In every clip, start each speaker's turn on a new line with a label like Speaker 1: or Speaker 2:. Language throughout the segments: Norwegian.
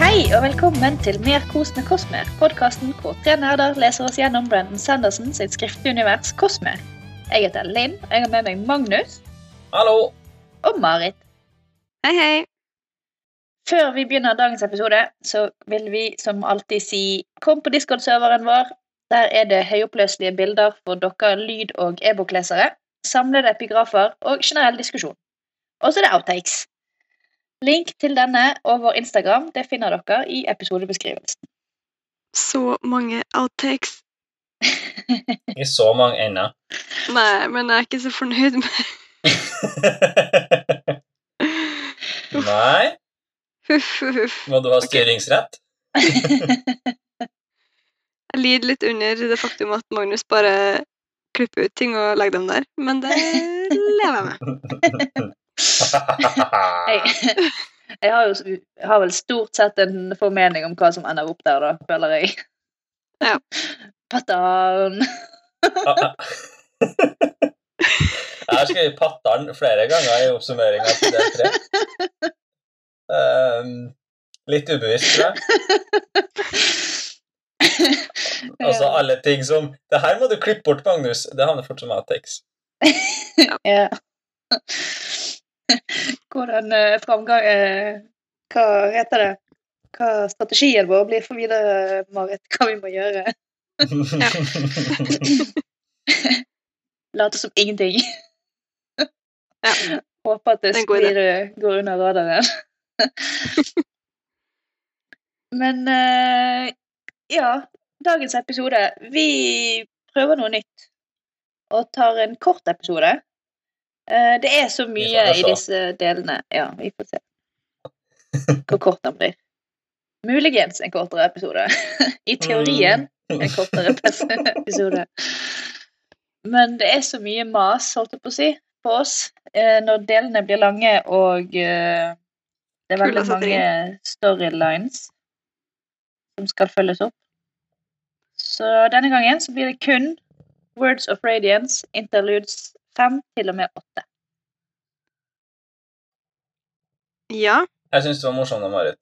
Speaker 1: Hei og velkommen til Mer kos med Cosmer, podkasten hvor tre nerder leser oss gjennom Brandon Sanderson sitt skriftlige univers Cosmer. Jeg heter Linn, og jeg har med meg Magnus
Speaker 2: Hallo!
Speaker 1: og Marit.
Speaker 3: Hei, hei.
Speaker 1: Før vi begynner dagens episode, så vil vi som alltid si kom på Discord-serveren vår. Der er det høyoppløselige bilder for dere lyd- og e-boklesere, samlede epigrafer og generell diskusjon. Og så er det outtakes. Link til denne og vår Instagram det finner dere i episodebeskrivelsen.
Speaker 3: Så mange outtakes.
Speaker 2: Ikke så mange ennå.
Speaker 3: Nei, men jeg er ikke så fornøyd med
Speaker 2: Nei,
Speaker 3: Huff, huff, huff.
Speaker 2: må du ha styringsrett?
Speaker 3: Jeg lider litt under det faktum at Magnus bare klipper ut ting og legger dem der, men det lever jeg med.
Speaker 1: Jeg,
Speaker 3: Ah.
Speaker 1: jeg har, jo, s- har vel stort sett en formening om hva som ender opp der, da, føler jeg.
Speaker 3: Ja.
Speaker 1: Pattern.
Speaker 2: Jeg har skrevet pattern flere ganger i oppsummeringa til del tre. Ehm, litt ubevisst, tror jeg. Altså
Speaker 1: Ja.
Speaker 2: alle ting som Det her må du klippe bort, Magnus. Det havner fort som outtakes.
Speaker 1: Ja. Hvordan eh, framgang eh, Hva heter det? Hva strategien vår blir for videre, Marit? Hva vi må gjøre? Late som ingenting.
Speaker 3: Ja.
Speaker 1: Håper at det
Speaker 3: Det er en god idé.
Speaker 1: sklir, går under radaren. Men eh, ja, dagens episode Vi prøver noe nytt og tar en kort episode. Eh, det er så mye i
Speaker 2: får se.
Speaker 1: disse delene. Ja, vi får se hvor kort den blir. Muligens en kortere episode. I teorien
Speaker 3: Mm.
Speaker 1: en kortere pes- episode. Men det er så mye mas, holdt jeg på å si, på oss eh, når delene blir lange og eh, det er veldig
Speaker 3: Kulla setter
Speaker 1: mange storylines som skal følges opp. Så denne gangen så blir det kun Words of Radiance, Interludes 5 til og med 8.
Speaker 3: Ja,
Speaker 2: Jeg syns det var morsomt, da, Marit.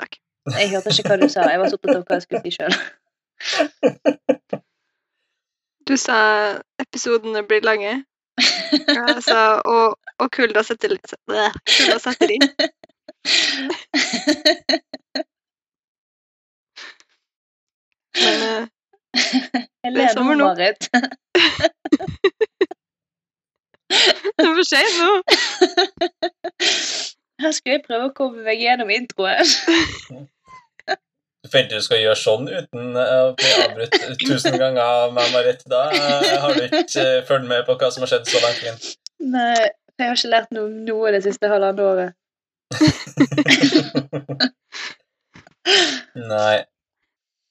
Speaker 3: takk.
Speaker 1: Jeg hørte ikke hva du sa, jeg var så opptatt av hva jeg skulle si sjøl.
Speaker 3: Du sa episodene blir lange. Jeg sa og, og kulda setter litt bleh, Kulda setter inn. Men eh,
Speaker 1: Jeg
Speaker 3: Det er
Speaker 1: ler nå,
Speaker 3: sommer nå.
Speaker 1: Marit.
Speaker 3: det er for sent nå.
Speaker 1: Her skulle jeg prøve å komme meg gjennom introen.
Speaker 2: Du forventer du skal gjøre sånn uten eh, å bli avbrutt tusen ganger av meg, Marit. Da eh, har du ikke eh, fulgt med på hva som har skjedd så langt. Linn.
Speaker 1: Nei, jeg har ikke lært noe om noe det siste halvannet året.
Speaker 2: Nei.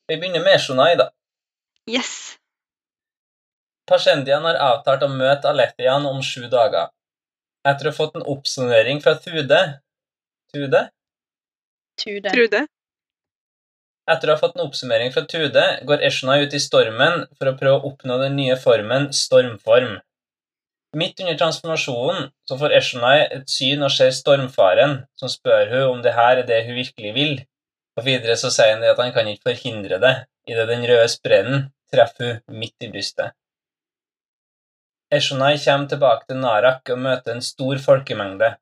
Speaker 2: Vi begynner med Shonai, da.
Speaker 3: Yes.
Speaker 2: Pashendian har avtalt å møte Aletian om sju dager. Etter å ha fått en oppsummering fra Tude Tude?
Speaker 1: Tude.
Speaker 3: Trude.
Speaker 2: Etter å ha fått en oppsummering fra Tude, går Eshna ut i stormen for å prøve å oppnå den nye formen stormform. Midt under transformasjonen så får Eshna et syn og ser stormfaren, som spør hun om det her er det hun virkelig vil. Og videre så sier han det at han kan ikke forhindre det, idet den røde sprennen treffer hun midt i brystet. Eshonai kommer tilbake til Narak og møter en stor folkemengde.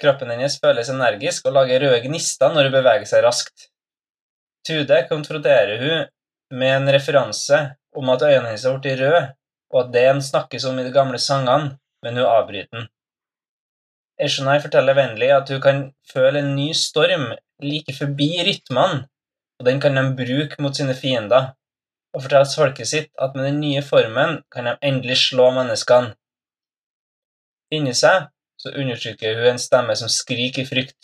Speaker 2: Kroppen hennes føles energisk og lager røde gnister når hun beveger seg raskt. Tude konfronterer hun med en referanse om at øynene hennes har blitt røde, og at det en snakkes om i de gamle sangene, men hun avbryter den. Eshonai forteller vennlig at hun kan føle en ny storm like forbi rytmene, og den kan de bruke mot sine fiender, og forteller folket sitt at med den nye formen kan de endelig slå menneskene. Inni seg så undertrykker hun en stemme som skriker i frykt.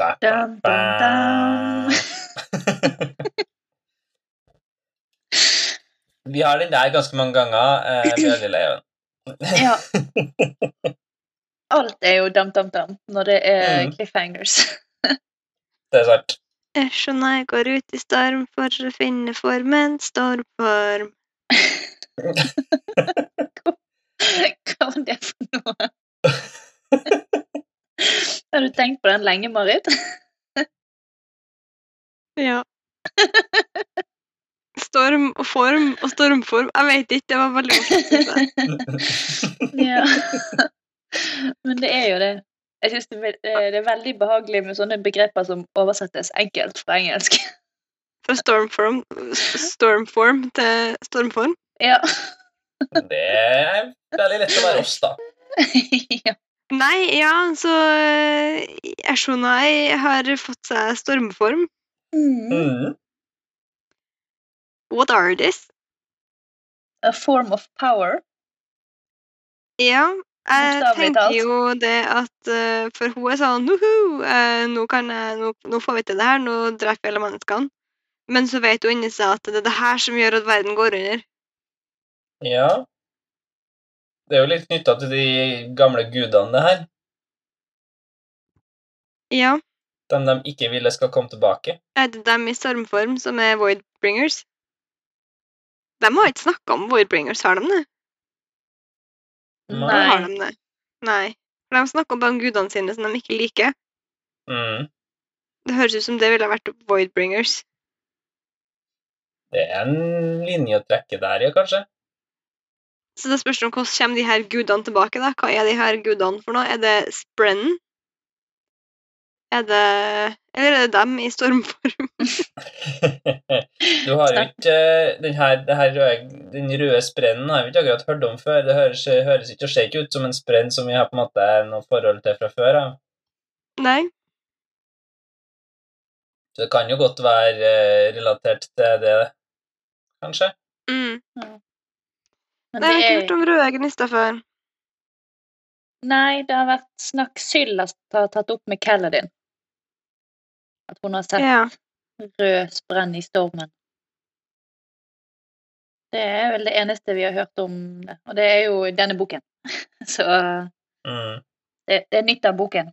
Speaker 2: Da,
Speaker 1: Dun, dun, dun.
Speaker 2: Vi har den der ganske mange ganger, eh, Bjørneleven.
Speaker 1: Ja. Alt er jo dam-dam-dam når det er
Speaker 2: Mm.
Speaker 1: cliffhangers.
Speaker 2: Det er sant.
Speaker 3: Eshonai går ut i storm for å finne formen stormform.
Speaker 1: Hva var det for noe? Det Har du tenkt på den lenge, Marit?
Speaker 3: Ja. Storm og form og stormform. Jeg vet ikke, det var veldig vanskelig.
Speaker 1: Ja. Men det er jo det. Jeg synes det, er ve- eh, det er veldig behagelig med sånne begreper som oversettes enkelt fra engelsk.
Speaker 3: Fra stormform, stormform til stormform.
Speaker 1: Ja.
Speaker 2: Det er veldig lett å være oss, da.
Speaker 1: ja.
Speaker 3: Nei, ja, så eh, Eshonai har fått seg stormform.
Speaker 1: Mm.
Speaker 2: Mm.
Speaker 3: What are this?
Speaker 1: A form of power.
Speaker 3: Ja, jeg
Speaker 1: Bokstavelig
Speaker 3: tenker
Speaker 1: talt.
Speaker 3: jo det at eh, For hun er sånn «Nuhu, eh, nå, kan jeg, nå, nå får vi til det her, nå dreper vi alle menneskene. Men så vet hun inni seg at det er det her som gjør at verden går under.
Speaker 2: Ja. Det er jo litt knytta til de gamle gudene, det her.
Speaker 3: Ja,
Speaker 2: Dem de ikke ville skal komme tilbake.
Speaker 3: er det dem i stormform som er Voidbringers? De har ikke snakka om Voidbringers, har de det?
Speaker 2: Nei.
Speaker 3: Eller Har
Speaker 1: Nei.
Speaker 3: de det? Nei. For de snakker bare om gudene sine som de ikke liker.
Speaker 2: Mm.
Speaker 3: Det høres ut som det ville vært Voidbringers.
Speaker 2: Det er en linje å trekke der, ja, kanskje.
Speaker 3: Så det spørs om hvordan kommer de her gudene tilbake, da? Hva er de her gudene for noe? Er det Sprennen? Er det Eller er det dem i stormform?
Speaker 2: du har jo ikke eh, den her, det her røde, den røde sprennen har vi ikke akkurat hørt om før. Det høres, høres ikke og ser ikke ut som en sprenn som vi har på en måte noe forhold til fra før. av.
Speaker 3: Nei?
Speaker 2: Så det kan jo godt være eh, relatert til det, kanskje.
Speaker 3: Mm.
Speaker 1: Men
Speaker 3: Nei, jeg har ikke
Speaker 1: det
Speaker 3: hørt
Speaker 1: er,
Speaker 3: om røde gnister før.
Speaker 1: nei, det har vært snakk Sylla har tatt opp med Kaladin. At hun har sett
Speaker 3: Ja.
Speaker 1: rød sprenn i stormen. Det er vel det eneste vi har hørt om det. Og det er jo i denne boken. Så
Speaker 2: Mm.
Speaker 1: det, det er nytt av boken.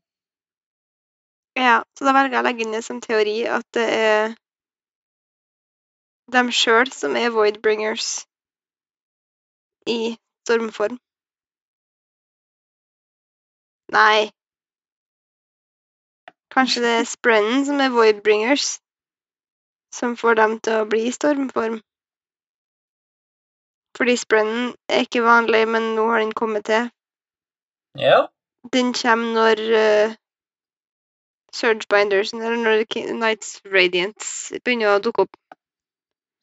Speaker 3: ja. Så da velger jeg å legge inn det som teori at det er dem sjøl som er Voidbringers i stormform. Nei. Kanskje det er Sprennen som er Voidbringers, som får dem til å bli i stormform. Fordi Sprennen er ikke vanlig, men nå har den kommet til.
Speaker 2: Ja.
Speaker 3: Den kommer når eh, Surge Binders, eller når Ki- Knights Radiance begynner å dukke opp.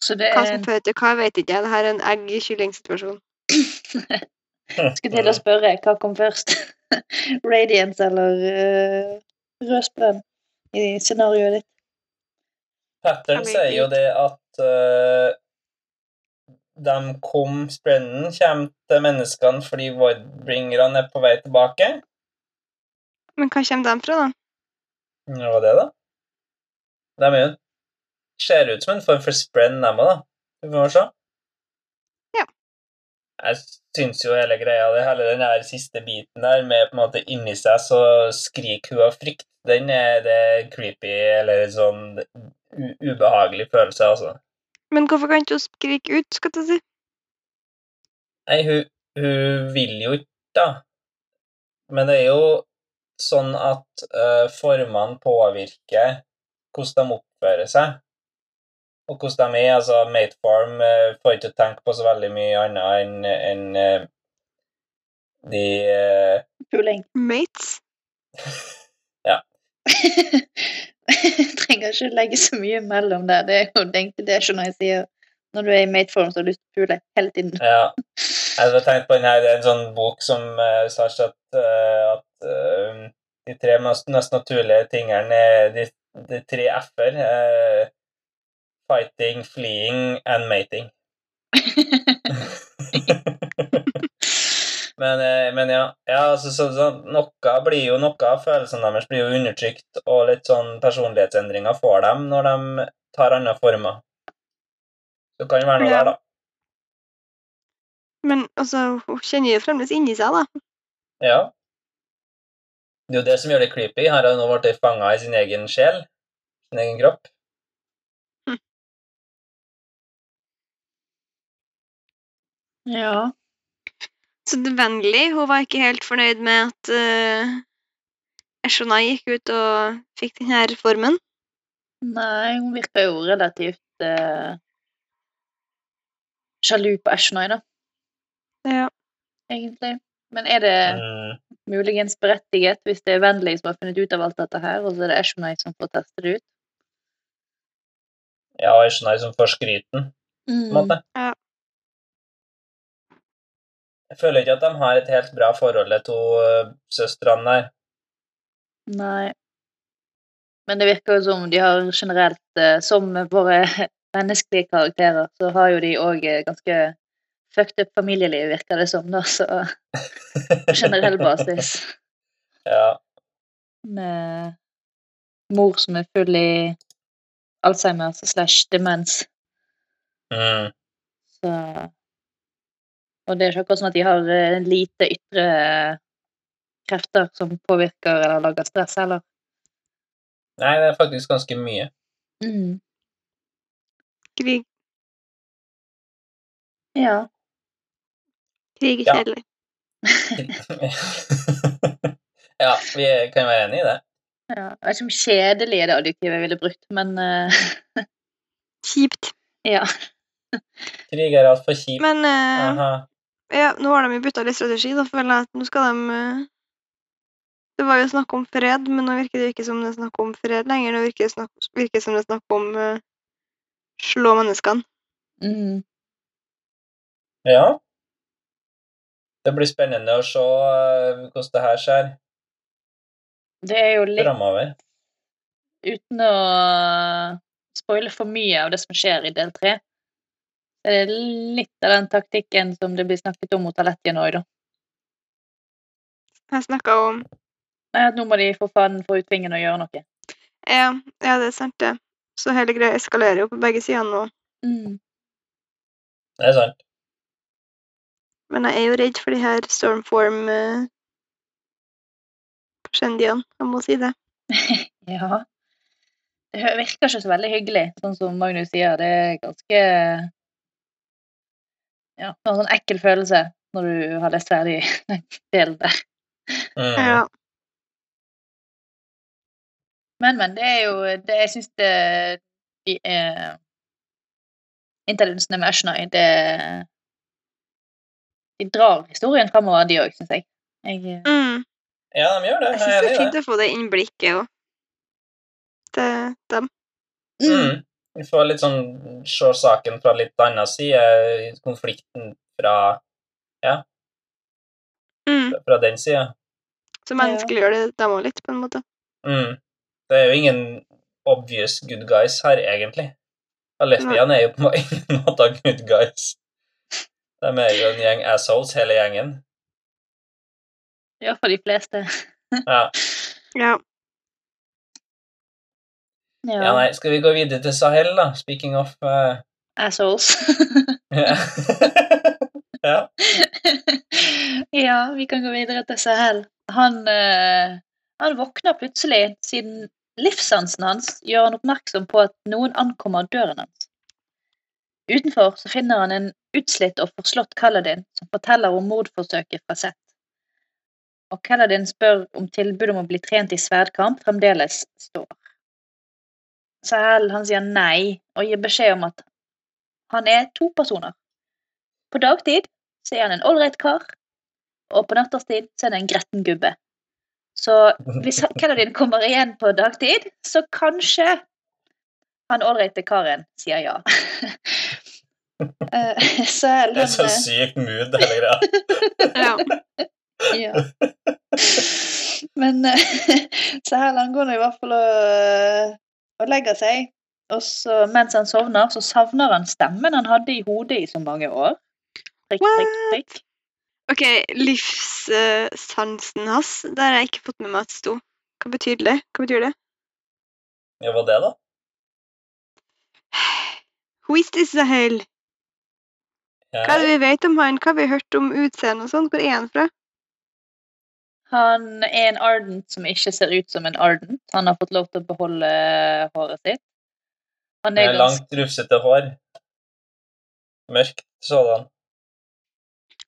Speaker 1: Så det
Speaker 3: Hva
Speaker 1: er
Speaker 3: som fører til hva, vet ikke jeg. Dette er en egg-kylling-situasjon.
Speaker 1: Skulle til å spørre hva kom først. Radiance eller eh, rød sprenn i scenarioet ditt.
Speaker 2: Pattern
Speaker 3: Kan vi
Speaker 2: sier jo
Speaker 3: ikke-
Speaker 2: det at eh, de kom Sprennen kommer til menneskene fordi Voidbringerne er på vei tilbake.
Speaker 3: Men hva kommer de fra, da?
Speaker 2: Hva var det, da? De er jo ser ut som en form for sprenn, dem òg, da. Vi får se.
Speaker 3: Ja.
Speaker 2: Jeg syns jo hele greia, det, hele den her siste biten der med på en måte inni seg så skriker hun av frykt, den er det creepy eller sånn u ubehagelig følelse, altså.
Speaker 3: Men hvorfor kan ikke hun skrike ut, skal jeg si?
Speaker 2: Nei, hun, hun vil jo ikke, da. Men det er jo sånn at eh, formene påvirker hvordan de oppfører seg. Og hvordan de er. Altså, Mateform uh, får ikke tenke på så veldig mye annet enn enn, eh, de eh,
Speaker 1: Puling.
Speaker 3: Mates?
Speaker 1: Jeg trenger ikke legge så mye mellom der. Det er jo egentlig det jeg skjønner jeg sier. Når du er i mateform, så har du lyst til å pule hele tiden.
Speaker 2: Ja. Jeg hadde tenkt på den her, det er en sånn bok som uh, sa at, eh, at eh, de tre mest, mest naturlige tingene er de, de tre f-er. eh, fighting, fleeing and mating. men, eh, men ja, ja altså, så, så, noe blir jo noe av følelsene deres blir jo undertrykt, og litt sånn personlighetsendringer får dem når de tar andre former. Så det kan jo være noe
Speaker 3: Ja.
Speaker 2: der, da.
Speaker 3: Men altså, hun kjenner jo fremdeles inni seg, da.
Speaker 2: Ja. Det er jo det som gjør det creepy. Her har hun nå blitt fanga i sin egen sjel. Sin egen kropp.
Speaker 1: Ja.
Speaker 3: Så det vennlig, hun var ikke helt fornøyd med at eh, Eshonai gikk ut og fikk den her formen.
Speaker 1: Nei, hun virker jo relativt eh, sjalu på Ashnoy, da,
Speaker 3: Ja.
Speaker 1: egentlig. Men er det
Speaker 2: Mm.
Speaker 1: muligens berettiget hvis det er Wendley som har funnet ut av alt dette her, og så er det Ashnoy som får teste det ut?
Speaker 2: Ja, og Eshonai som får skryten,
Speaker 1: Mm.
Speaker 2: på en måte.
Speaker 3: Ja.
Speaker 2: Jeg føler ikke at de har et helt bra forhold, de to eh, søstrene der.
Speaker 1: Nei. Men det virker jo som de har generelt, eh, som med våre menneskelige karakterer, så har jo de òg ganske fucked up familieliv, virker det som, da, så på generell basis.
Speaker 2: Ja.
Speaker 1: Med mor som er full i Alzheimers slash demens.
Speaker 2: Mm.
Speaker 1: Så Og det er ikke akkurat sånn at de har eh, lite ytre eh, krefter som påvirker eller lager stress heller.
Speaker 2: Nei, det er faktisk ganske mye.
Speaker 1: Mm.
Speaker 3: Krig,
Speaker 1: Ja.
Speaker 3: krig er
Speaker 2: Ja.
Speaker 3: kjedelig.
Speaker 2: ja, vi kan være enig i det.
Speaker 1: Ja, jeg vet ikke om kjedelig er det adjektivet jeg ville brukt, men eh,
Speaker 3: Kjipt.
Speaker 1: ja.
Speaker 2: Krig er altfor kjipt.
Speaker 3: Men eh,
Speaker 2: Aha.
Speaker 3: ja, nå har de jo bytta litt strategi, da føler jeg at nå skal de eh, Det var jo snakk om fred, men nå virker det jo ikke som det er snakk om fred lenger. Nå virker det snakk, virker det som det er snakk om eh, slå menneskene.
Speaker 1: Mm.
Speaker 2: Ja. Det blir spennende å se eh, hvordan det her skjer
Speaker 1: Det er jo litt
Speaker 2: framover.
Speaker 1: Uten å spoile for mye av det som skjer i del tre, så er det litt av den taktikken som det blir snakket om mot Alettia nå, da.
Speaker 3: Jeg snakka om
Speaker 1: Nei, at nå må de for faen få ut vingen og gjøre noe.
Speaker 3: ja, ja, det er sant, det. Så hele greia eskalerer jo på begge sider nå.
Speaker 1: Mm.
Speaker 2: Det er sant.
Speaker 3: Men jeg er jo redd for de her stormform-shendiene. jeg må si det.
Speaker 1: Ja. Det hø- virker ikke så veldig hyggelig, sånn som Magnus sier. Det er ganske Ja, det er en sånn ekkel følelse når du har lest ferdig den delen der.
Speaker 2: Mm.
Speaker 3: Ja.
Speaker 1: Men, men. Det er jo det, Jeg syns det de er Interlunsene med Ashnoy, det De drar historien framover, de òg, syns jeg. jeg. eh,
Speaker 3: Mm.
Speaker 2: ja, de gjør det.
Speaker 3: Jeg
Speaker 2: Jeg
Speaker 3: syns
Speaker 2: er
Speaker 3: det er
Speaker 2: enig i
Speaker 3: fint
Speaker 2: det.
Speaker 3: å få det innblikket òg. Til dem.
Speaker 2: Mm. Vi får litt sånn se saken fra litt annen side, konflikten fra,
Speaker 3: Mm.
Speaker 2: fra den sida.
Speaker 3: Så menneskeliggjør det dem òg litt, på en måte.
Speaker 2: Mm. Det er jo ingen obvious good guys her, egentlig. Alestian er jo på ingen måte good guys. De er jo en gjeng assholes, hele gjengen.
Speaker 1: Ja, for de fleste.
Speaker 2: Ja.
Speaker 3: Ja.
Speaker 2: ja, nei, skal vi gå videre til Sahel, da? Speaking of eh,
Speaker 1: Assholes.
Speaker 2: ja. eh, ja.
Speaker 1: ja, vi kan gå videre til Sahel. Han, eh, han våkner plutselig siden livssansen hans gjør han oppmerksom på at noen ankommer døren hans. Utenfor så finner han en utslitt og forslått Kaladin som forteller om mordforsøket fra Seth. Og Kaladin spør om tilbudet om å bli trent i sverdkamp fremdeles står. Sahel han sier nei og gir beskjed om at han er to personer. På dagtid så er han en ålreit kar, og på natterstid så er han en gretten gubbe. Så hvis han- Kennedy kommer igjen på dagtid, så kanskje han ålreite karen sier ja. Eh, så
Speaker 2: Det er så
Speaker 1: han, eh,
Speaker 2: sykt mood, hele greia.
Speaker 3: ja.
Speaker 1: Ja. Men eh, så her han går nå i hvert fall og, og legger seg. Og så mens han sovner, så savner han stemmen han hadde i hodet i så mange år. Prikk, prikk, prikk.
Speaker 3: OK, livssansen hans, der har jeg ikke fått med meg at det sto. Hva betyr det? Hva betyr det?
Speaker 2: Ja, hva det, da?
Speaker 3: Who is this the hell?
Speaker 2: Ja.
Speaker 3: Hva er det vi vet om han? Hva har vi hørt om utseendet og sånn? Hvor er han fra?
Speaker 1: Han er en ardent som ikke ser ut som en ardent. Han har fått lov til å beholde eh, håret sitt. Han
Speaker 2: Med
Speaker 1: er ganske
Speaker 2: langt, rufsete hår. Mørkt sådan.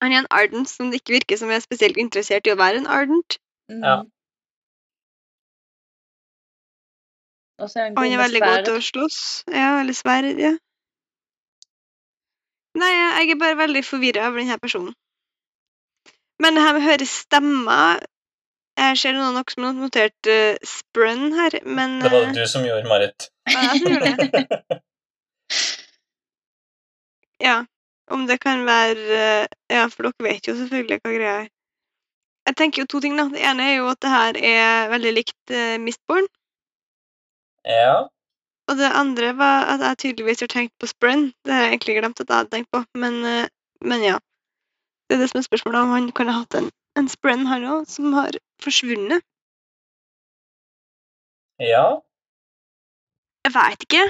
Speaker 3: Han er en ardent som det ikke virker som er spesielt interessert i å være en ardent.
Speaker 1: Mm.
Speaker 2: Ja.
Speaker 1: Og så er han
Speaker 3: Og
Speaker 1: god
Speaker 3: han er
Speaker 1: med
Speaker 3: veldig god
Speaker 1: sverd.
Speaker 3: til å slåss. Ja, eller sverd, ja. Nei, jeg er bare veldig forvirra over denne personen. Men det her med å høre stemmer Jeg ser noen nok som har notert uh, Sprun her, men
Speaker 2: Det var
Speaker 3: eh,
Speaker 2: det du som gjorde, Marit.
Speaker 3: ja, jeg tror det. ja. Om det kan være eh, Ja, for dere vet jo selvfølgelig hva greia er. Jeg tenker jo to ting, da. Det ene er jo at det her er veldig likt eh, Mistborn.
Speaker 2: Ja.
Speaker 3: Og det andre var at jeg tydeligvis har tenkt på Sprint. Det har jeg egentlig glemt at jeg hadde tenkt på, men, eh, men ja. Det er det som er spørsmålet, om han kunne hatt en, en Sprint her òg, som har forsvunnet.
Speaker 2: Ja.
Speaker 3: Jeg veit ikke.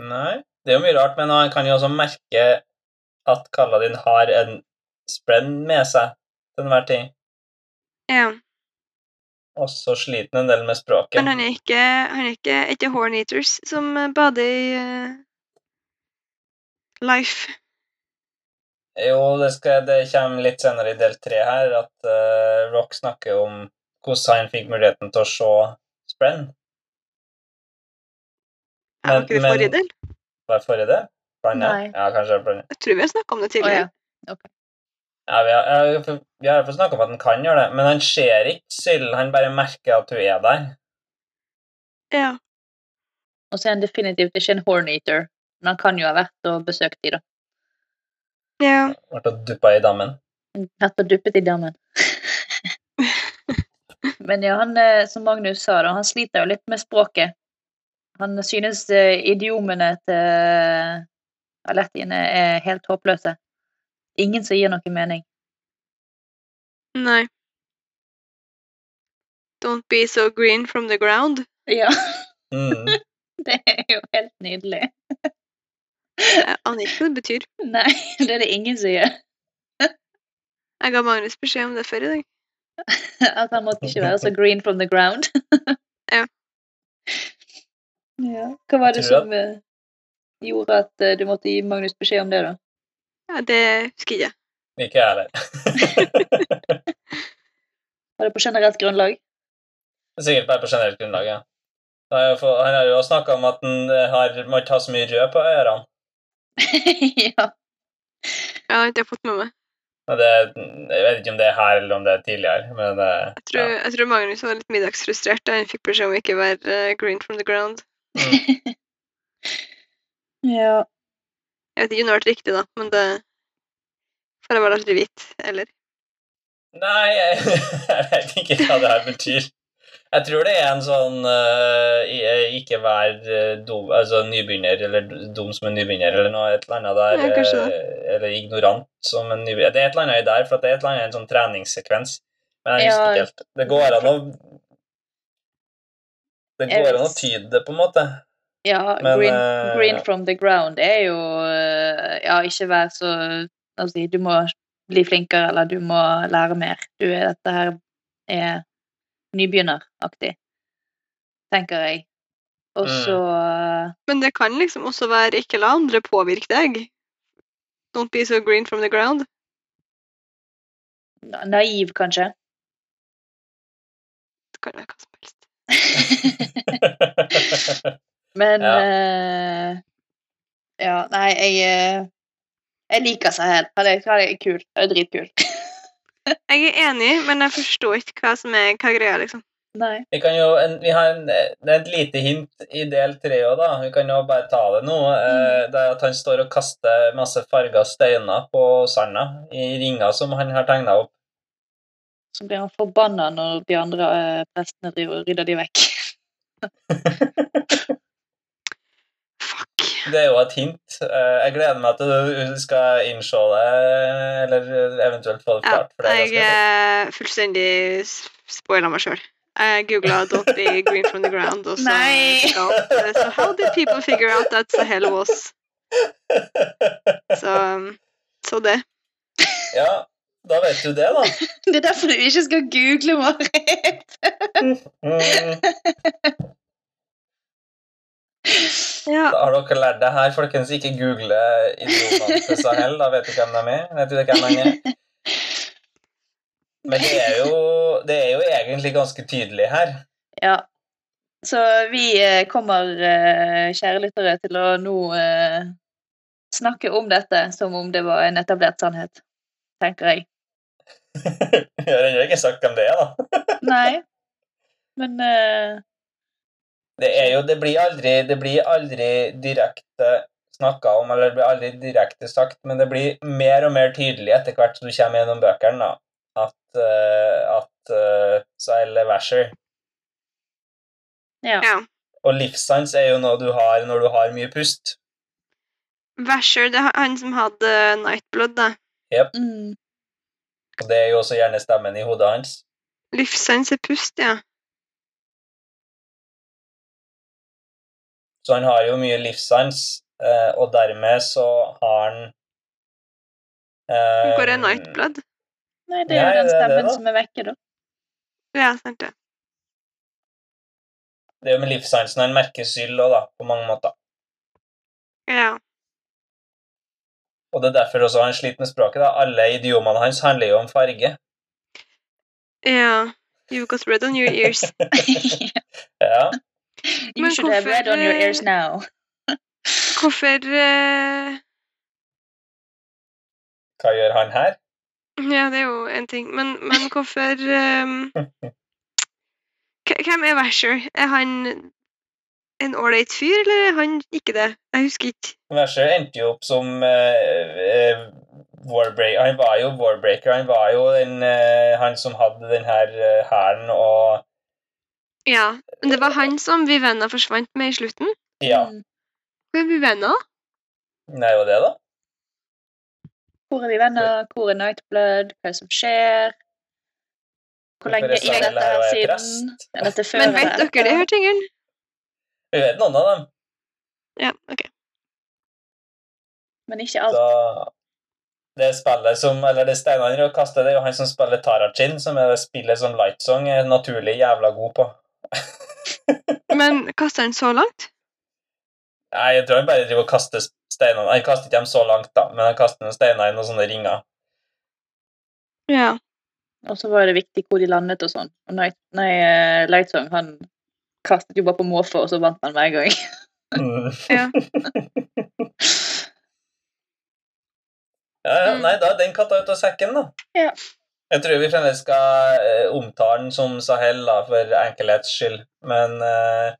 Speaker 2: Nei. Det er jo mye rart, men han kan jo også merke at kalla din har en sprenn med seg til enhver tid.
Speaker 3: Ja.
Speaker 2: Og så sliter han en del med språket.
Speaker 3: Men han er ikke han er ikke et av Horneaters som eh, bader i eh, Life.
Speaker 2: Jo, det, skal, det kommer litt senere i del tre her at eh, Rock snakker om hvordan han fikk muligheten til å se Sprenn.
Speaker 3: Er
Speaker 2: Men-
Speaker 3: det ikke det
Speaker 2: men-
Speaker 3: forrige del?
Speaker 2: Var det forrige det? Blanda?
Speaker 1: Nei.
Speaker 2: Ja, kanskje det er blanda.
Speaker 3: Jeg tror vi har snakka om det
Speaker 1: Å,
Speaker 3: tidligere.
Speaker 1: ja.
Speaker 2: Ja, vi har, jeg, vi har i hvert fall snakket om at han kan gjøre det, men han ser ikke Syl. Han bare merker at hun er der.
Speaker 3: ja.
Speaker 1: Og så er han definitivt ikke en horneater, men han kan jo ha vært og besøkt de, da.
Speaker 3: ja.
Speaker 2: Ble duppa i dammen.
Speaker 1: Vært og duppet i dammen. men ja, han, eh, som Magnus sa, da, han sliter jo litt med språket. Han synes eh, idiomene til Alettiene er helt håpløse. Ingen som gir noe mening.
Speaker 3: Nei. Don't be so green from the ground.
Speaker 1: Ja,
Speaker 2: Mm.
Speaker 1: det er jo helt nydelig.
Speaker 3: Jeg aner ikke hva det betyr.
Speaker 1: Nei, det er det ingen som gjør.
Speaker 3: Jeg ga Magnus beskjed om det før i dag.
Speaker 1: At han måtte ikke være så green from the ground.
Speaker 3: Ja.
Speaker 1: ja. Hva var det
Speaker 2: Jeg tror
Speaker 1: som eh, gjorde at eh, du måtte gi Magnus beskjed om det, da?
Speaker 3: Ja, det husker jeg ikke.
Speaker 2: Ikke jeg heller.
Speaker 1: Var det på generelt grunnlag?
Speaker 2: Sikkert bare på generelt grunnlag, ja. Da har jeg fått- Han har jo snakka om at han eh, har, må ikke ha så mye rød på ørene.
Speaker 1: ja.
Speaker 3: Ja, det har ikke jeg fått med meg.
Speaker 2: Men det, jeg vet ikke om det er her eller om det er tidligere. Men det,
Speaker 3: Jeg tror,
Speaker 2: ja.
Speaker 3: jeg tror Magnus var litt middagsfrustrert da han fikk beskjed om ikke å være eh, green from the ground.
Speaker 1: ja.
Speaker 3: Jeg vet ikke om det ble riktig, da, men det får jeg vel aldri vite, eller?
Speaker 2: Nei, jeg, jeg vet ikke hva det her betyr. Jeg tror det er en sånn eh, i- ikke vær eh, dum, altså nybegynner, eller dum som en nybegynner, eller noe et eller annet der.
Speaker 3: Ja, kanskje det.
Speaker 2: eh, eller ignorant som en nybegynner. Det er et eller annet i der, for at det er et eller annet i en sånn treningssekvens. Men jeg husker
Speaker 1: Ja.
Speaker 2: ikke helt. Det går an å Det
Speaker 1: Jeg
Speaker 2: går an å
Speaker 1: vet.
Speaker 2: tyde det, på en måte.
Speaker 1: ja
Speaker 2: Men,
Speaker 1: green,
Speaker 2: eh,
Speaker 1: green from the ground er jo eh, Ja, ikke vær så Altså, du må bli flinkere, eller du må lære mer. Du er dette her er nybegynneraktig, tenker jeg. Og
Speaker 2: Mm.
Speaker 1: så eh,
Speaker 3: Men det kan liksom også være ikke la andre påvirke deg. Don't be so green from the ground.
Speaker 1: Na- eh, Naiv, kanskje.
Speaker 3: Det kan være hva som helst.
Speaker 1: Men
Speaker 2: Ja.
Speaker 1: ja. ja, nei, jeg eh, Jeg liker Sahel. Han er, han er kul. Han er dritkul.
Speaker 3: Jeg er enig, men jeg forstår ikke hva som er hva greia, liksom.
Speaker 1: Nei.
Speaker 2: Vi kan jo, en, vi har en, det er et lite hint i del tre òg, da. Vi kan jo bare ta det nå. Eh,
Speaker 3: Mm.
Speaker 2: det er at han står og kaster masse farga steiner på sanda i ringer som han har tegna opp.
Speaker 1: Så blir han forbanna når de andre eh, prestene driver og rydder de vekk.
Speaker 3: Fuck.
Speaker 2: Det er jo et hint. Eh, jeg gleder meg til du skal innse det, eller eventuelt få det
Speaker 3: Ja,
Speaker 2: klart. for det er
Speaker 3: jeg
Speaker 2: ganske-
Speaker 3: eh, fullstendig s- spoila meg sjøl. Jeg googla 'Don't be green from the ground', og så
Speaker 1: Nei.
Speaker 3: Ja, så how did people figure out that Sahel was? Så, um, så det.
Speaker 2: Ja, da vet du det, da.
Speaker 1: Det er derfor du ikke skal google, Marit.
Speaker 2: Mm.
Speaker 3: Ja,
Speaker 2: Da har dere lært det her, folkens. Ikke google idiotene til Sahel. Da vet du hvem de er. Vet du hvem han er. Men det er, jo, det er jo egentlig ganske tydelig her.
Speaker 1: Ja. Så vi eh, kommer, eh, kjære lyttere, til å nå eh, snakke om dette som om det var en etablert sannhet, tenker jeg.
Speaker 2: Jeg har ennå ikke sagt hvem det er, da.
Speaker 1: Nei, men eh,
Speaker 2: Det, er jo, det, blir, aldri, det blir aldri direkte snakka om, eller det blir aldri direkte sagt, men det blir mer og mer tydelig etter hvert som du kommer gjennom bøkene, da, at, eh, at eh, Sile Vasher
Speaker 1: ja.
Speaker 3: Ja.
Speaker 2: Og livssans er jo noe du har når du har mye pust.
Speaker 3: Vasher, det er han som hadde eh, Nightblood, da.
Speaker 1: Mm.
Speaker 2: Og det er jo også gjerne stemmen i hodet hans.
Speaker 3: Livssans er pust, ja.
Speaker 2: Så han har jo mye livssans, eh, og dermed så har han eh,
Speaker 3: Hvor er Nightblood?
Speaker 1: Nei, det er
Speaker 2: Nei,
Speaker 1: jo den
Speaker 2: det er det,
Speaker 1: stemmen
Speaker 2: da.
Speaker 1: som er vekke, da.
Speaker 3: Ja, sant det.
Speaker 2: Det er jo med livssansen han merker syld òg, da, på mange måter.
Speaker 3: Ja.
Speaker 2: Og det er derfor også han sliter med språket. da. Alle idiomene hans handler jo om farge.
Speaker 3: ja. You've got red on your ears.
Speaker 2: Ja.
Speaker 1: you
Speaker 3: Men
Speaker 1: should have
Speaker 3: hvorfor,
Speaker 1: red on your
Speaker 3: eh,
Speaker 1: ears now.
Speaker 3: Hvorfor eh,
Speaker 2: Hva gjør han her?
Speaker 3: Ja, det er jo en ting. Men, men hvorfor ehm, k- Hvem er Vasher? Er han en ålreit fyr, eller er han ikke det? Jeg husker ikke.
Speaker 2: Vasher endte jo opp som eh, eh, Warbreaker. Han var jo Warbreaker. Han var jo den, eh, han som hadde den her eh, hæren og
Speaker 3: Ja, Men det var han som Vivenna forsvant med i slutten.
Speaker 2: Ja.
Speaker 1: Mm.
Speaker 3: Hvor er Vivenna?
Speaker 2: Det er jo det, da.
Speaker 1: Hvor er vi venner? Hvor er Nightblood? Hva er det som skjer? Hvor
Speaker 2: Hvorfor
Speaker 1: lenge
Speaker 2: er
Speaker 1: er dette
Speaker 2: Sarah
Speaker 1: her
Speaker 2: Lyle
Speaker 1: siden?
Speaker 2: prest?
Speaker 1: Er dette før
Speaker 3: Men
Speaker 1: eller
Speaker 3: vet dere de
Speaker 1: etter?
Speaker 3: her tingene?
Speaker 2: Vi vet noen av dem.
Speaker 3: Ja, ok.
Speaker 1: Men ikke alt.
Speaker 2: Så det spillet som Eller det steinene de kaster, det er jo han som spiller Tarachin, som er det spillet som Lightsong er naturlig jævla god på.
Speaker 3: Men kaster han så langt?
Speaker 2: Nei, jeg tror han bare driver og kaster steinene. Han kaster ikke dem så langt, da, men han kaster noen steiner i noen sånne ringer.
Speaker 3: Ja.
Speaker 1: Og så var det viktig hvor de landet og sånn. Og Night, nei, eh, Lightsong, han kastet jo bare på måfå, og så vant han hver gang.
Speaker 2: Mm.
Speaker 3: Ja.
Speaker 2: Ja, ja,
Speaker 3: Mm.
Speaker 2: nei, da er den katta ut av sekken, da.
Speaker 1: Ja.
Speaker 2: Jeg tror vi fremdeles skal eh, omtale den som Sahel, da, for enkelhets skyld. Men eh,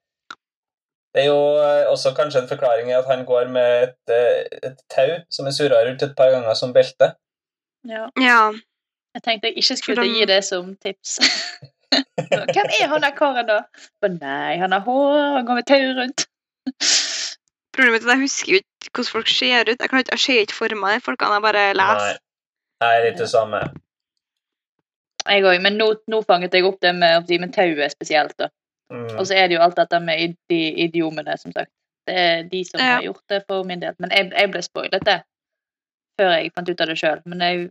Speaker 2: det er jo eh, også kanskje en forklaring i at han går med et, eh, et tau som er surra rundt et par ganger som belte.
Speaker 1: Ja.
Speaker 3: ja.
Speaker 1: Jeg tenkte jeg ikke
Speaker 3: For
Speaker 1: skulle
Speaker 3: de-
Speaker 1: gi det som tips. Så, Hvem er han der karen, da? Å nei, han har hår, han går med tau rundt.
Speaker 3: Problemet er at jeg husker jo ikke hvordan folk ser ut. Jeg, kan ikke, jeg ser ikke for meg folkene, jeg bare
Speaker 2: Nei,
Speaker 3: leser.
Speaker 2: det er litt det samme.
Speaker 1: Jeg òg, men nå, nå fanget jeg opp det med, med tauet spesielt, da.
Speaker 2: Mm.
Speaker 1: Og så er det jo alt dette med id de idiomene, som sagt. Det er de som
Speaker 3: Ja.
Speaker 1: har gjort det for min del. Men jeg, jeg ble spoilet det før jeg fant ut av det sjøl. Men jeg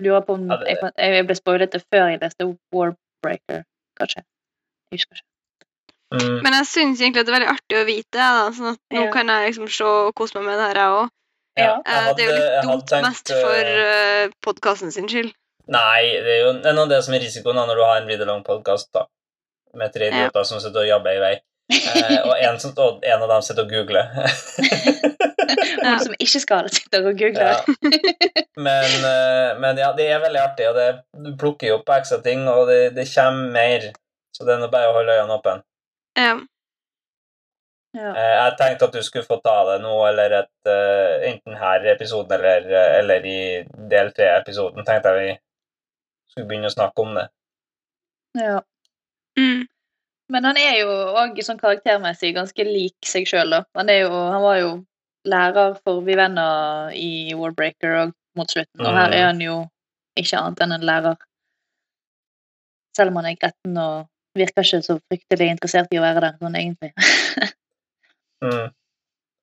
Speaker 1: lurer på om
Speaker 2: Ja, det-
Speaker 1: jeg, fant, jeg ble spoilet det før jeg leste Warbreaker, kanskje. Jeg husker ikke.
Speaker 2: Mm.
Speaker 3: Men jeg syns egentlig at det er veldig artig å vite det, da, sånn at nå
Speaker 1: Ja.
Speaker 3: kan jeg liksom se og kose meg med det her, jeg òg.
Speaker 2: Ja,
Speaker 1: Ja.
Speaker 2: jeg
Speaker 3: eh, det er jo
Speaker 2: hadde- jeg
Speaker 3: litt
Speaker 2: hadde
Speaker 3: dumt
Speaker 2: tenkt,
Speaker 3: mest for
Speaker 2: eh,
Speaker 3: uh, podkasten sin skyld.
Speaker 2: Nei, det er jo det er noe av det som er risikoen da, når du har en read-along-podkast da, med tre
Speaker 3: Ja.
Speaker 2: idioter som sitter og jabber i vei. Eh, og, en som, og en av dem sitter og googler.
Speaker 1: Noen som ikke skal, sitter og googler.
Speaker 2: ja. Men, eh, men ja, det er veldig artig, og det, du plukker jo opp ekstra ting, og det, det kommer mer. Så det er nå bare å holde øynene åpne.
Speaker 3: Ja.
Speaker 1: Ja.
Speaker 2: Eh, jeg tenkte at du skulle få ta det nå, eller et, eh, enten her i episoden eller, eh, eller i del tre-episoden, tenkte jeg vi skulle begynne å snakke om det.
Speaker 1: Ja.
Speaker 3: Mm.
Speaker 1: Men han er jo òg sånn karaktermessig ganske lik seg sjøl, da. Han, er jo, han var jo lærer for Vivenna i Warbreaker og mot slutten, og her
Speaker 2: Mhm.
Speaker 1: er han jo ikke annet enn en lærer. Selv om han er gretten og virker ikke så fryktelig interessert i å være der, sånn egentlig.
Speaker 2: Mm.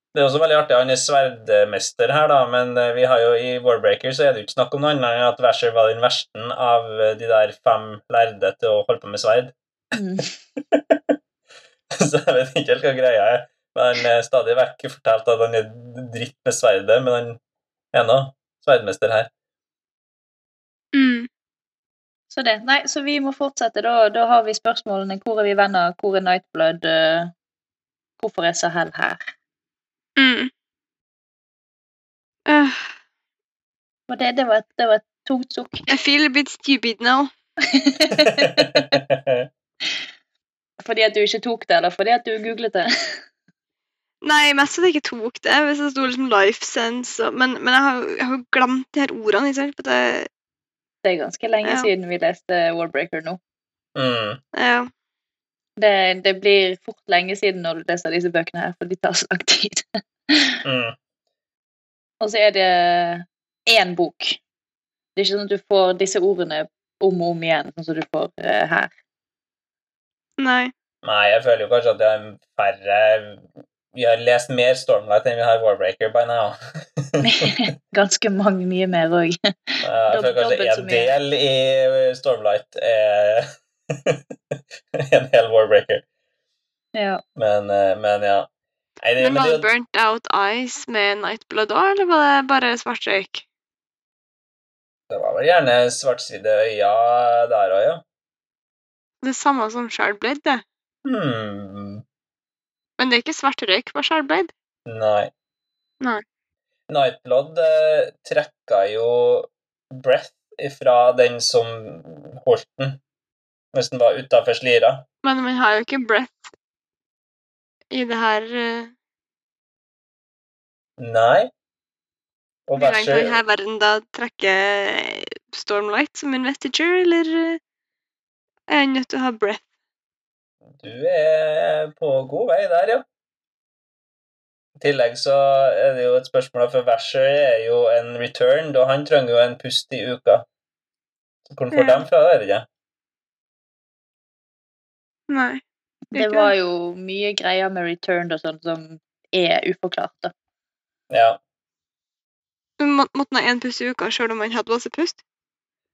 Speaker 2: Det er også veldig artig, han er sverdmester her, da, men eh, vi har jo i Warbreaker så er det jo ikke snakk om noe annet enn at Vasher var den versten av eh, de der fem lærde til å holde på med sverd.
Speaker 1: Mm.
Speaker 2: så jeg vet ikke helt hva greia er. Men han er stadig vekk fortalt at han er dritt med sverdet, men han er nå sverdmester her.
Speaker 3: Mm.
Speaker 1: Så det. Nei, så vi må fortsette. Da, da har vi spørsmålene hvor er vi venner, hvor er Nightblood, eh, hvorfor er Sahel her?
Speaker 3: Mm. Uh,
Speaker 1: Og det, det, var, et- det var et tungt sukk.
Speaker 3: I feel a bit stupid now.
Speaker 1: Fordi at du ikke tok det, eller fordi at du googlet det.
Speaker 3: Nei, mest at jeg ikke tok det. Hvis det sto liksom life sense og, Men, men jeg, har, jo- jeg har jo glemt de her ordene. Ikke sant? For det,
Speaker 1: Det er ganske lenge
Speaker 3: Ja.
Speaker 1: siden vi leste Warbreaker nå.
Speaker 2: mm.
Speaker 3: ja.
Speaker 1: Det, det blir fort lenge siden når du leser disse bøkene her, for de tar så lang tid.
Speaker 2: Mm.
Speaker 1: Og så er det én bok. Det er ikke sånn at du får disse ordene om og om igjen, sånn som du får eh, her.
Speaker 3: Nei.
Speaker 2: Nei, jeg føler jo kanskje at det er færre Vi har lest mer Stormlight enn vi har Warbreaker by now.
Speaker 1: Ganske mange mye mer òg.
Speaker 2: Ja, Eh, Jeg føler kanskje
Speaker 1: Dobbelt så
Speaker 2: en
Speaker 1: mye.
Speaker 2: del i Stormlight er en hel Warbreaker.
Speaker 1: Ja.
Speaker 2: Men, eh, men ja. Nei, det,
Speaker 3: Men
Speaker 2: men
Speaker 3: var
Speaker 2: det,
Speaker 3: det Burnt Out Eyes med Nightblood òg, eller var det bare svart røyk?
Speaker 2: det var vel gjerne svartside øya der òg, ja.
Speaker 3: Det samme som Shardblade, det.
Speaker 2: Hmm.
Speaker 3: Men det er ikke svart røyk på Shardblade.
Speaker 2: Nei.
Speaker 3: Nei.
Speaker 2: Nightblood eh, trekka jo breath ifra den som holdt den, mens den var utafor slira.
Speaker 3: Men man har jo ikke breath i det her eh,
Speaker 2: Nei. Og
Speaker 3: Vil han
Speaker 2: verset
Speaker 3: på denne verden da trekke eh, Stormlight som investiture, eller eh, er han nødt til å ha breath?
Speaker 2: Du er på god vei der, ja. I tillegg så er det jo et spørsmål, for verset er jo en return, og han trenger jo en pust i uka. Så Hvor han får
Speaker 3: Ja.
Speaker 2: dem fra, vet jeg ikke.
Speaker 3: Nei. er
Speaker 1: Det
Speaker 3: ikke
Speaker 1: var jo mye greier med returned og sånn som er uforklart. da.
Speaker 2: Ja.
Speaker 3: Men må- Måtte han ha én pust i uka sjøl om han hadde masse pust?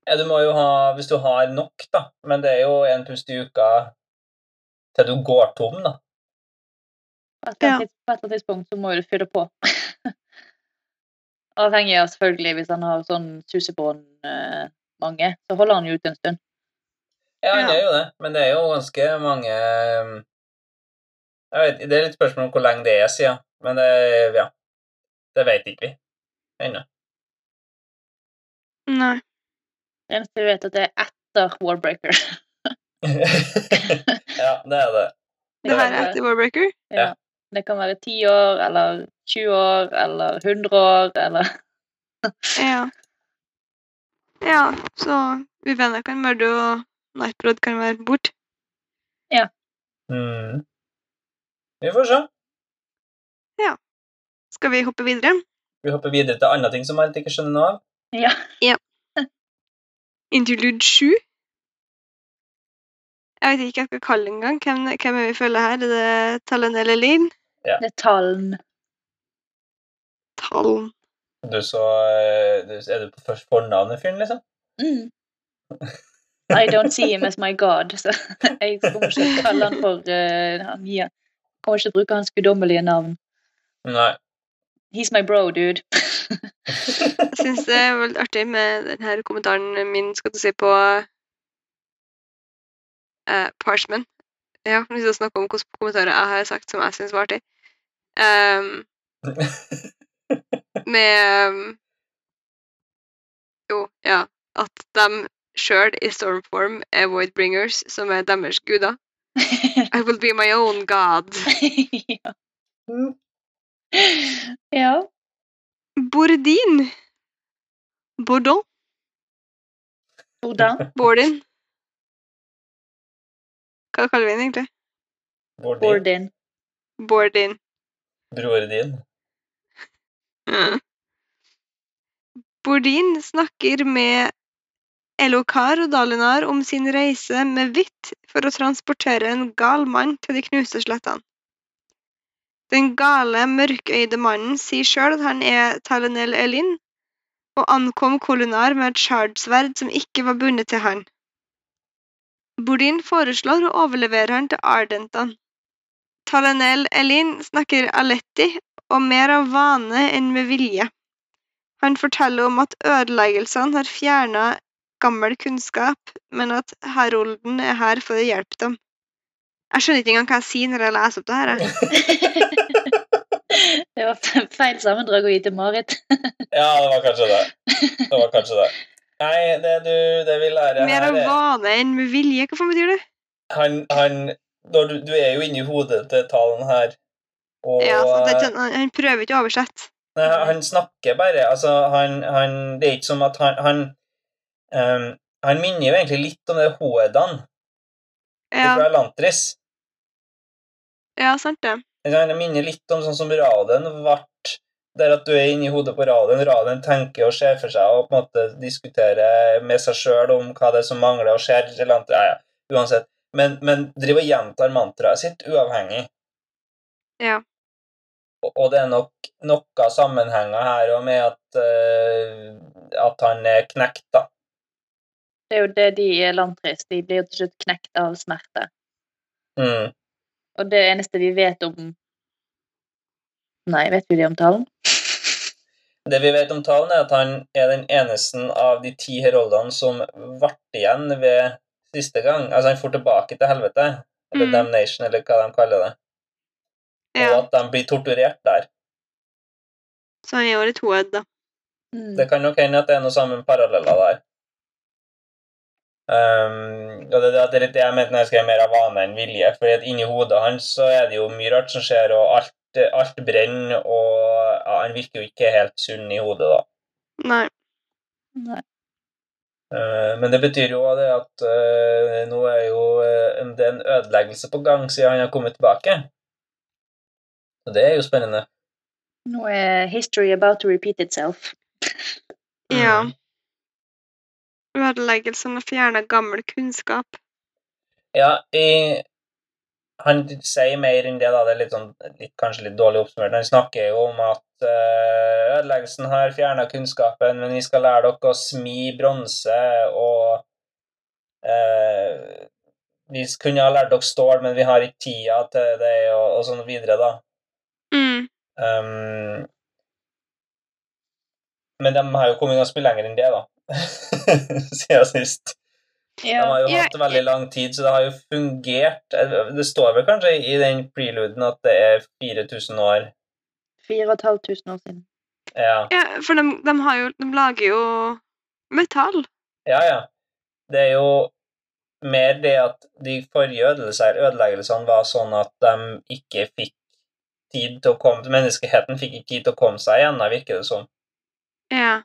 Speaker 2: Ja, du må jo ha, hvis du har nok, da. Men det er jo en pust i uka til du går tom, da.
Speaker 1: På et eller
Speaker 3: Ja.
Speaker 1: annet tids- på et eller annet tidspunkt så må du fylle på. Avhengig av selvfølgelig hvis han har sånn susebånd-mange, så holder han jo ut en stund.
Speaker 2: Ja, han
Speaker 3: Ja.
Speaker 2: gjør jo det, men det er jo ganske mange Jeg vet, Det er litt spørsmål om hvor lenge det er siden, men det, ja, det vet ikke vi ennå.
Speaker 3: Nei.
Speaker 1: Det eneste vi vet, at det er etter Warbreaker.
Speaker 2: ja, det er det.
Speaker 3: Det
Speaker 1: kan
Speaker 3: her er
Speaker 1: være-
Speaker 3: etter Warbreaker?
Speaker 1: ja. Det kan være 10 år, eller 20 år, eller 100 år, eller
Speaker 3: Ja. Ja, så Vivenna kan være død, og Nightblood kan være borte.
Speaker 2: Mm. Vi får se.
Speaker 3: Skal vi hoppe videre?
Speaker 2: Vi hopper videre til andre ting som man ikke skjønner noe av.
Speaker 1: Ja.
Speaker 3: Interlude 7? Jeg vet ikke hva jeg skal kalle det engang. Hvem, hvem er vi følger her? Er det Tallen eller Lin?
Speaker 1: Det er tallen.
Speaker 3: Tallen.
Speaker 2: Du så eh, du- Er du på først fornavnet fyren, liksom?
Speaker 1: Mm. I don't see him as my god. Så jeg kommer ikke til å kalle han for eh, han gir. Kommer ikke til å bruke hans guddommelige navn.
Speaker 2: Nei.
Speaker 1: He's my bro, dude.
Speaker 3: Jeg syns det er veldig artig med denne kommentaren min skal du si, på eh, Parchman. Jeg har lyst til å snakke om hvilke kommentarer jeg har sagt som jeg syns var artig. Ehm, med ehm, Jo, ja. At de sjøl i stormform er Voidbringers, som er deres guder. I will be my own god.
Speaker 1: ja.
Speaker 2: Mm.
Speaker 1: ja.
Speaker 3: Bordin. Bordon.
Speaker 1: Hvordan?
Speaker 3: Bordin. Hva kaller vi den egentlig?
Speaker 2: Hvor din?
Speaker 1: Bordin.
Speaker 3: Bordin.
Speaker 2: Bror din?
Speaker 3: Bordin snakker med Elokar og Dalinar om sin reise med hvitt for å transportere en gal mann til de knuste slettene. Den gale, mørkøyde mannen sier sjøl at han er Talenel Elin, og ankom Kolunar med et shardsverd som ikke var bundet til han. Bordin foreslår å overlevere han til Ardentan. Talenel Elin snakker Aletti og mer av vane enn med vilje. Han forteller om at ødeleggelsene har fjerna gammel kunnskap, men at Herolden er her for å hjelpe dem. Jeg skjønner ikke engang hva jeg sier når jeg leser opp det her. jeg.
Speaker 1: Det var fe- feil sammendrag å gi til Marit.
Speaker 2: Ja, det var kanskje det. Det var kanskje det. Nei, det, du, det vi lærer
Speaker 3: Mer
Speaker 2: her
Speaker 3: av
Speaker 2: er
Speaker 3: vane enn med vilje. Hva faen betyr det?
Speaker 2: han, han, når du, du er jo inni hodet til talen her, og eh,
Speaker 3: Ja, sant, det er ikke- sånn, han- Han prøver ikke å oversette.
Speaker 2: Nei, han snakker bare. Altså, han, han Det er ikke som at han Han, ehm, han minner jo egentlig litt om det Hoedan
Speaker 3: Ja,
Speaker 2: fra Lantris.
Speaker 3: ja sant det.
Speaker 2: Ikke sant? Det minner litt om sånn som radioen ble der at du er inni hodet på radioen. Radioen tenker og ser for seg og på en måte diskuterer med seg sjøl om hva det er som mangler og skjer. Eller annet. Ja, ja, uansett. Men, men driver og gjentar mantraet sitt uavhengig.
Speaker 3: Ja.
Speaker 2: Og, og det er nok noe sammenhenger her òg med at, eh, at han er knekt, da.
Speaker 1: Det er jo det de er landtrist. De blir jo til slutt knekt av smerte.
Speaker 2: Mm.
Speaker 1: Og det eneste vi vet om Nei, vet vi det om talen?
Speaker 2: Det vi vet om talen, er at han er den eneste av de ti heroldene som ble igjen ved siste gang. Altså, han får tilbake til helvete, eller
Speaker 3: Mm.
Speaker 2: damnation, eller hva de kaller det. Og
Speaker 3: ja.
Speaker 2: at de blir torturert der.
Speaker 3: Så han er jo litt hoed, da.
Speaker 1: Mm.
Speaker 2: Det kan nok hende at det er noe sammen paralleller der. Um, og det, det det er litt det jeg mente når jeg skrev mer av vane enn vilje, fordi at inni hodet hans så er det jo mye rart som skjer, og alt, alt brenner, og ja, han virker jo ikke helt sunn i hodet, da.
Speaker 3: Nei.
Speaker 1: Nei.
Speaker 2: Eh, Men det betyr jo også det at eh, nå er jo eh, det er en ødeleggelse på gang siden han har kommet tilbake. Og det er jo spennende.
Speaker 1: Nå er history about to repeat itself.
Speaker 3: Ja.
Speaker 2: Mm.
Speaker 3: Ødeleggelsen har fjerna gammel kunnskap.
Speaker 2: Ja, i, han sier mer enn det, da. Det er litt sånn, litt, kanskje litt dårlig oppsummert. Han snakker jo om at eh, ødeleggelsen har fjerna kunnskapen, men vi skal lære dere å smi bronse, og eh, vi kunne ha lært dere stål, men vi har ikke tida til det, og, og sånn videre, da.
Speaker 3: Mm.
Speaker 2: Ehm, men de har jo kommet ganske mye lenger enn det, da. Siden sist. De
Speaker 1: Ja.
Speaker 2: har jo
Speaker 3: Ja.
Speaker 2: hatt veldig lang tid, så det har jo fungert Det står vel kanskje i den preluden at det er 4000 år.
Speaker 1: 4500 år siden.
Speaker 2: Ja,
Speaker 3: Ja, for de, de, har jo, de lager jo metall.
Speaker 2: ja. ja. Det er jo mer det at de forrige ødeleggelser- ødeleggelsene var sånn at de ikke fikk tid til å komme Menneskeheten fikk ikke tid til å komme seg igjen, da, virker det som.
Speaker 3: Ja.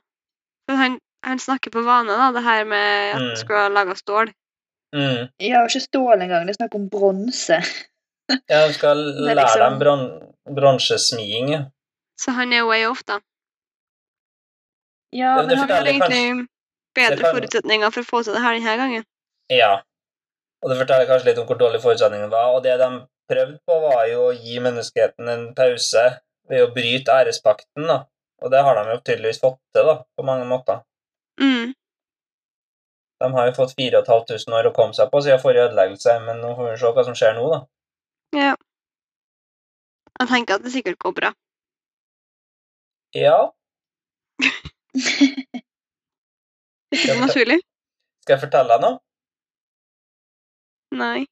Speaker 3: Men han, han snakker på vane, da, det her med at
Speaker 2: Mm.
Speaker 3: du skulle ha laga stål.
Speaker 2: Mm.
Speaker 1: Ja, ikke stål engang. Det er snakk om bronse.
Speaker 2: Ja, du skal
Speaker 1: er
Speaker 2: lære
Speaker 1: liksom-
Speaker 2: dem bron bronsesmiing. ja.
Speaker 3: Så han er way off, da.
Speaker 1: Ja,
Speaker 2: Det- det
Speaker 1: men han,
Speaker 3: Han har
Speaker 2: forteller
Speaker 3: egentlig
Speaker 2: det
Speaker 3: bedre
Speaker 2: kan-
Speaker 3: forutsetninger for å få til det her denne gangen.
Speaker 2: Ja. Og det forteller kanskje litt om hvor dårlig forutsetningen var. Og det de prøvde på, var jo å gi menneskeheten en pause ved å bryte ærespakten, da. Og det har de jo tydeligvis fått til, da, på mange måter.
Speaker 3: Mm.
Speaker 2: De har jo fått 4500 år å komme seg på siden forrige ødeleggelse, men nå får vi se hva som skjer nå, da.
Speaker 3: Ja. Jeg tenker at det sikkert går bra.
Speaker 2: Ja,
Speaker 3: Det er naturlig.
Speaker 2: skal jeg fortelle deg noe?
Speaker 3: Nei.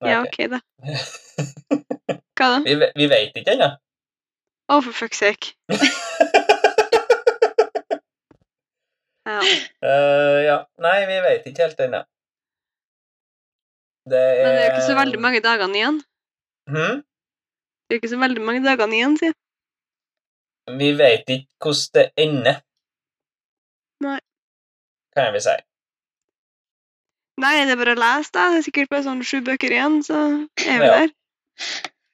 Speaker 2: Nei,
Speaker 3: Ja,
Speaker 2: ok.
Speaker 3: OK, da. Hva da?
Speaker 2: Vi, ve- vi vet ikke ennå.
Speaker 3: Oh, for fuck's sake. Ja.
Speaker 2: Eh, ja. Nei, vi vet ikke helt ennå. Det er
Speaker 3: Men det er jo ikke
Speaker 2: Eh.
Speaker 3: så veldig mange dagene igjen.
Speaker 2: Hmm?
Speaker 3: Det er jo ikke så veldig mange dagene igjen, sier jeg.
Speaker 2: Vi vet ikke hvordan det ender.
Speaker 3: Nei.
Speaker 2: Kan jeg vel si.
Speaker 3: Nei, det er bare å lese, da. Det er sikkert bare sånn sju bøker igjen, så er
Speaker 2: Ja.
Speaker 3: vi der.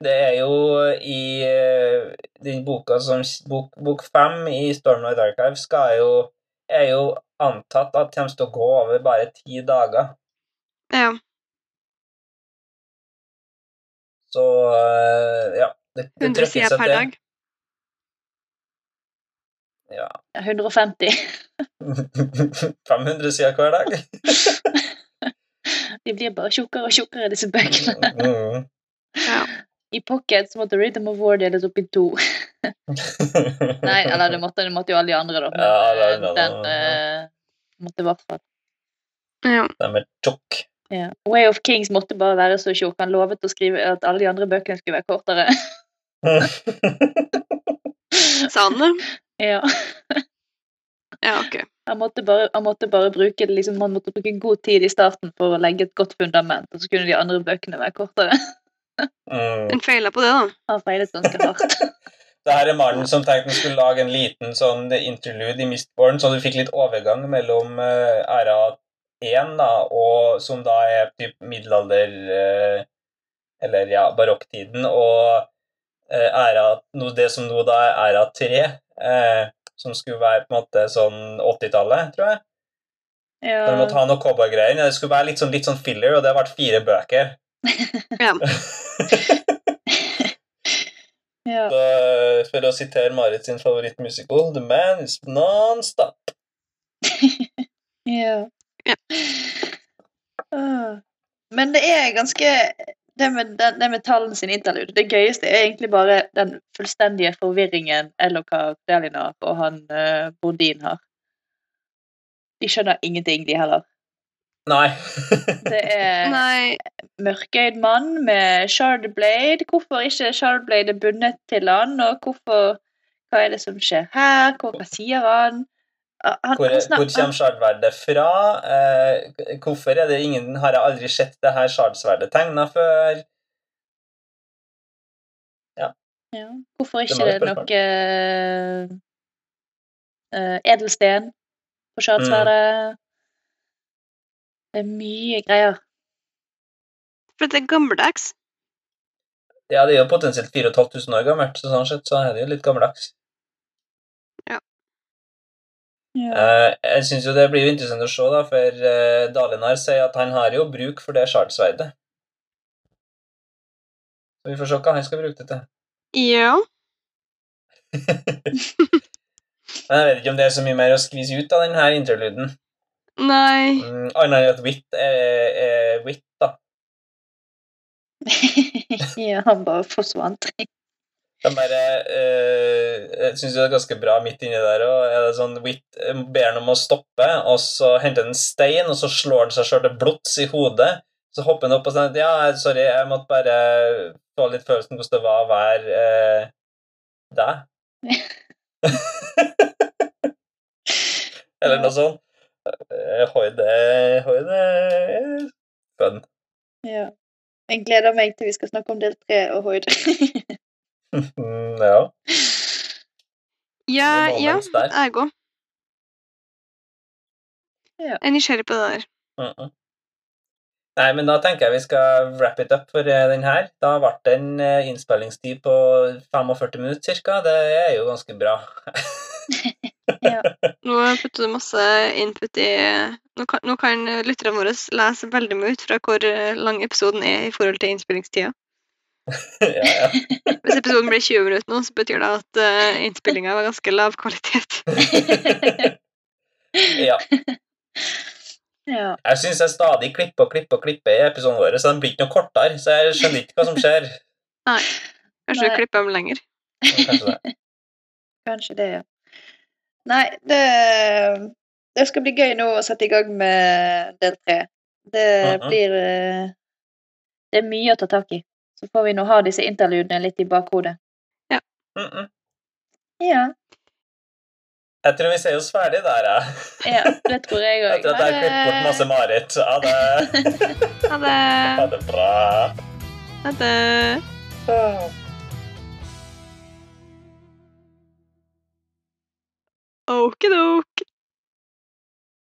Speaker 2: Det er jo i eh, den boka som Bok, bok fem i Stormlight Archive skal jo er jo antatt at de skal gå over bare ti dager.
Speaker 3: Ja.
Speaker 2: Så eh, ja. Det, det
Speaker 3: 100
Speaker 2: trykkes
Speaker 3: sider
Speaker 2: at
Speaker 3: per
Speaker 2: det-
Speaker 3: dag.
Speaker 2: Ja.
Speaker 1: 150.
Speaker 2: 500 sider hver dag.
Speaker 1: De blir bare tjukkere og tjukkere, disse bøkene.
Speaker 2: Mm.
Speaker 1: I pocket så måtte Rhythm of War deles opp i to. Nei, eller det måtte, det måtte jo alle de andre, da. Men
Speaker 2: Ja, det er
Speaker 1: eh,
Speaker 2: det, da.
Speaker 1: den eh, måtte i hvert fall
Speaker 3: Ja.
Speaker 2: De er tjokk.
Speaker 1: Ja. Way of Kings måtte bare være så tjukk. Han lovet å skrive at alle de andre bøkene skulle være kortere.
Speaker 3: Sa han det?
Speaker 1: ja.
Speaker 3: Ja, ok.
Speaker 1: Han måtte bare, han måtte bare bruke, det liksom, han måtte bruke god tid i starten for å legge et godt fundament, og så kunne de andre bøkene være kortere.
Speaker 2: Mm.
Speaker 3: Han feila på det, da.
Speaker 1: Han feilet ganske hardt.
Speaker 2: Det her er mannen som tenkte han skulle lage en liten sånn interlude i Mistborn, så du fikk litt overgang mellom eh, æra 1, da, og, som da er typ middelalder eh, Eller ja, barokktiden, og eh, æra nå- Det som nå da er æra 3, eh, som skulle være på en måte sånn 80-tallet, tror jeg.
Speaker 1: Ja.
Speaker 2: De måtte ha noe cowboygreier. Ja, Det skulle være litt sånn, litt sånn filler, og det har vært fire bøker.
Speaker 3: Ja.
Speaker 1: ja.
Speaker 2: Så, eh, for å sitere Marit sin favorittmusical, The Man Is Non-Stop.
Speaker 1: Ja.
Speaker 3: Ja.
Speaker 1: Ah. Men det er ganske det med, den- det med tallene sin interlude, det gøyeste er egentlig bare den fullstendige forvirringen Ellok har, Delina og han eh, Brodin har. De skjønner ingenting, de heller.
Speaker 2: Nei.
Speaker 1: Det er
Speaker 3: Nei,
Speaker 1: mørkøyd mann med Shardblade. Hvorfor ikke Shardblade er bundet til han, og hvorfor Hva er det som skjer her? Hvor, hva sier han? Ah, han,
Speaker 2: Hvor,
Speaker 1: han
Speaker 2: hvor
Speaker 1: snakker,
Speaker 2: kommer sjardsverdet fra? Eh, hvorfor er det ingen Har jeg aldri sett det her sjardsverdet tegna før?
Speaker 1: Ja. Hvorfor
Speaker 2: Det
Speaker 1: ikke
Speaker 2: var
Speaker 1: det er
Speaker 2: et spørsmål.
Speaker 1: noe eh, edelsten
Speaker 2: Mm.
Speaker 1: på Sjardsverdet? Det er mye greier.
Speaker 3: for det er gammeldags.
Speaker 2: Ja, det er jo potensielt 4500 år gammelt, så sånn sett så er det jo litt gammeldags.
Speaker 1: Ja.
Speaker 2: Eh, jeg syns jo det blir jo interessant å se, da, for eh, Dalinar sier at han har jo bruk for det sjardsverdet. Så vi får se hva han skal bruke det til.
Speaker 3: Ja.
Speaker 2: Men jeg vet ikke om det er så mye mer å skvise ut av denne interluden.
Speaker 3: Nei.
Speaker 2: Mm, Annet enn at Wit er, er Wit, da.
Speaker 1: ja, han bare forsvant.
Speaker 2: De bare, eh, jeg synes det er ganske bra midt inni der og er det sånn, Witt eh, ber han om å stoppe, og så henter han en stein, og så slår han seg selv til blods i hodet. Så hopper han opp og sier at ja, sorry, jeg måtte bare få litt følelsen hvordan det var å være eh, deg. Eller noe sånt. Eh, Hoide, hoide Fun.
Speaker 1: Ja. Jeg gleder meg til vi skal snakke om del tre og Hoid.
Speaker 2: Mm, ja.
Speaker 3: Ja,
Speaker 2: Noen
Speaker 3: ja.
Speaker 2: moments der.
Speaker 3: Jeg òg.
Speaker 1: Ja.
Speaker 3: Jeg er nysgjerrig på det der.
Speaker 2: Mm -mm. Nei, men da tenker jeg vi skal wrap it up for eh, den her. Da ble det en eh, innspillingstid på 45 minutter cirka. Det er jo ganske bra.
Speaker 3: Nå putter du masse input i Nå kan, nå kan lytterne våre lese veldig mye ut fra hvor eh, lang episoden er i forhold til innspillingstida.
Speaker 2: ja, ja.
Speaker 3: Hvis episoden blir 20 minutter nå, så betyr det at uh, innspillinga var ganske lav kvalitet.
Speaker 2: ja.
Speaker 1: ja.
Speaker 2: Jeg syns jeg stadig klipper og klipper og klipper i episodene våre, så den blir ikke noe kortere. Så jeg skjønner ikke hva som skjer.
Speaker 3: Kanskje
Speaker 1: Nei.
Speaker 3: du klipper dem lenger.
Speaker 2: Men Kanskje det.
Speaker 1: Kanskje det, ja. Nei, det, det skal bli gøy nå å sette i gang med del tre. Det
Speaker 2: Mhm.
Speaker 1: blir eh, Det er mye å ta tak i. Så får vi nå ha disse interludene litt i bakhodet.
Speaker 2: Mm -mm.
Speaker 1: Ja,
Speaker 2: Jeg tror vi ser oss ferdig der, jeg.
Speaker 1: ja det tror jeg òg.
Speaker 2: Etter at jeg har klippet bort masse Marit. Ha det.
Speaker 3: Ha det.
Speaker 2: Ha det bra.
Speaker 3: Ha det. Okidok.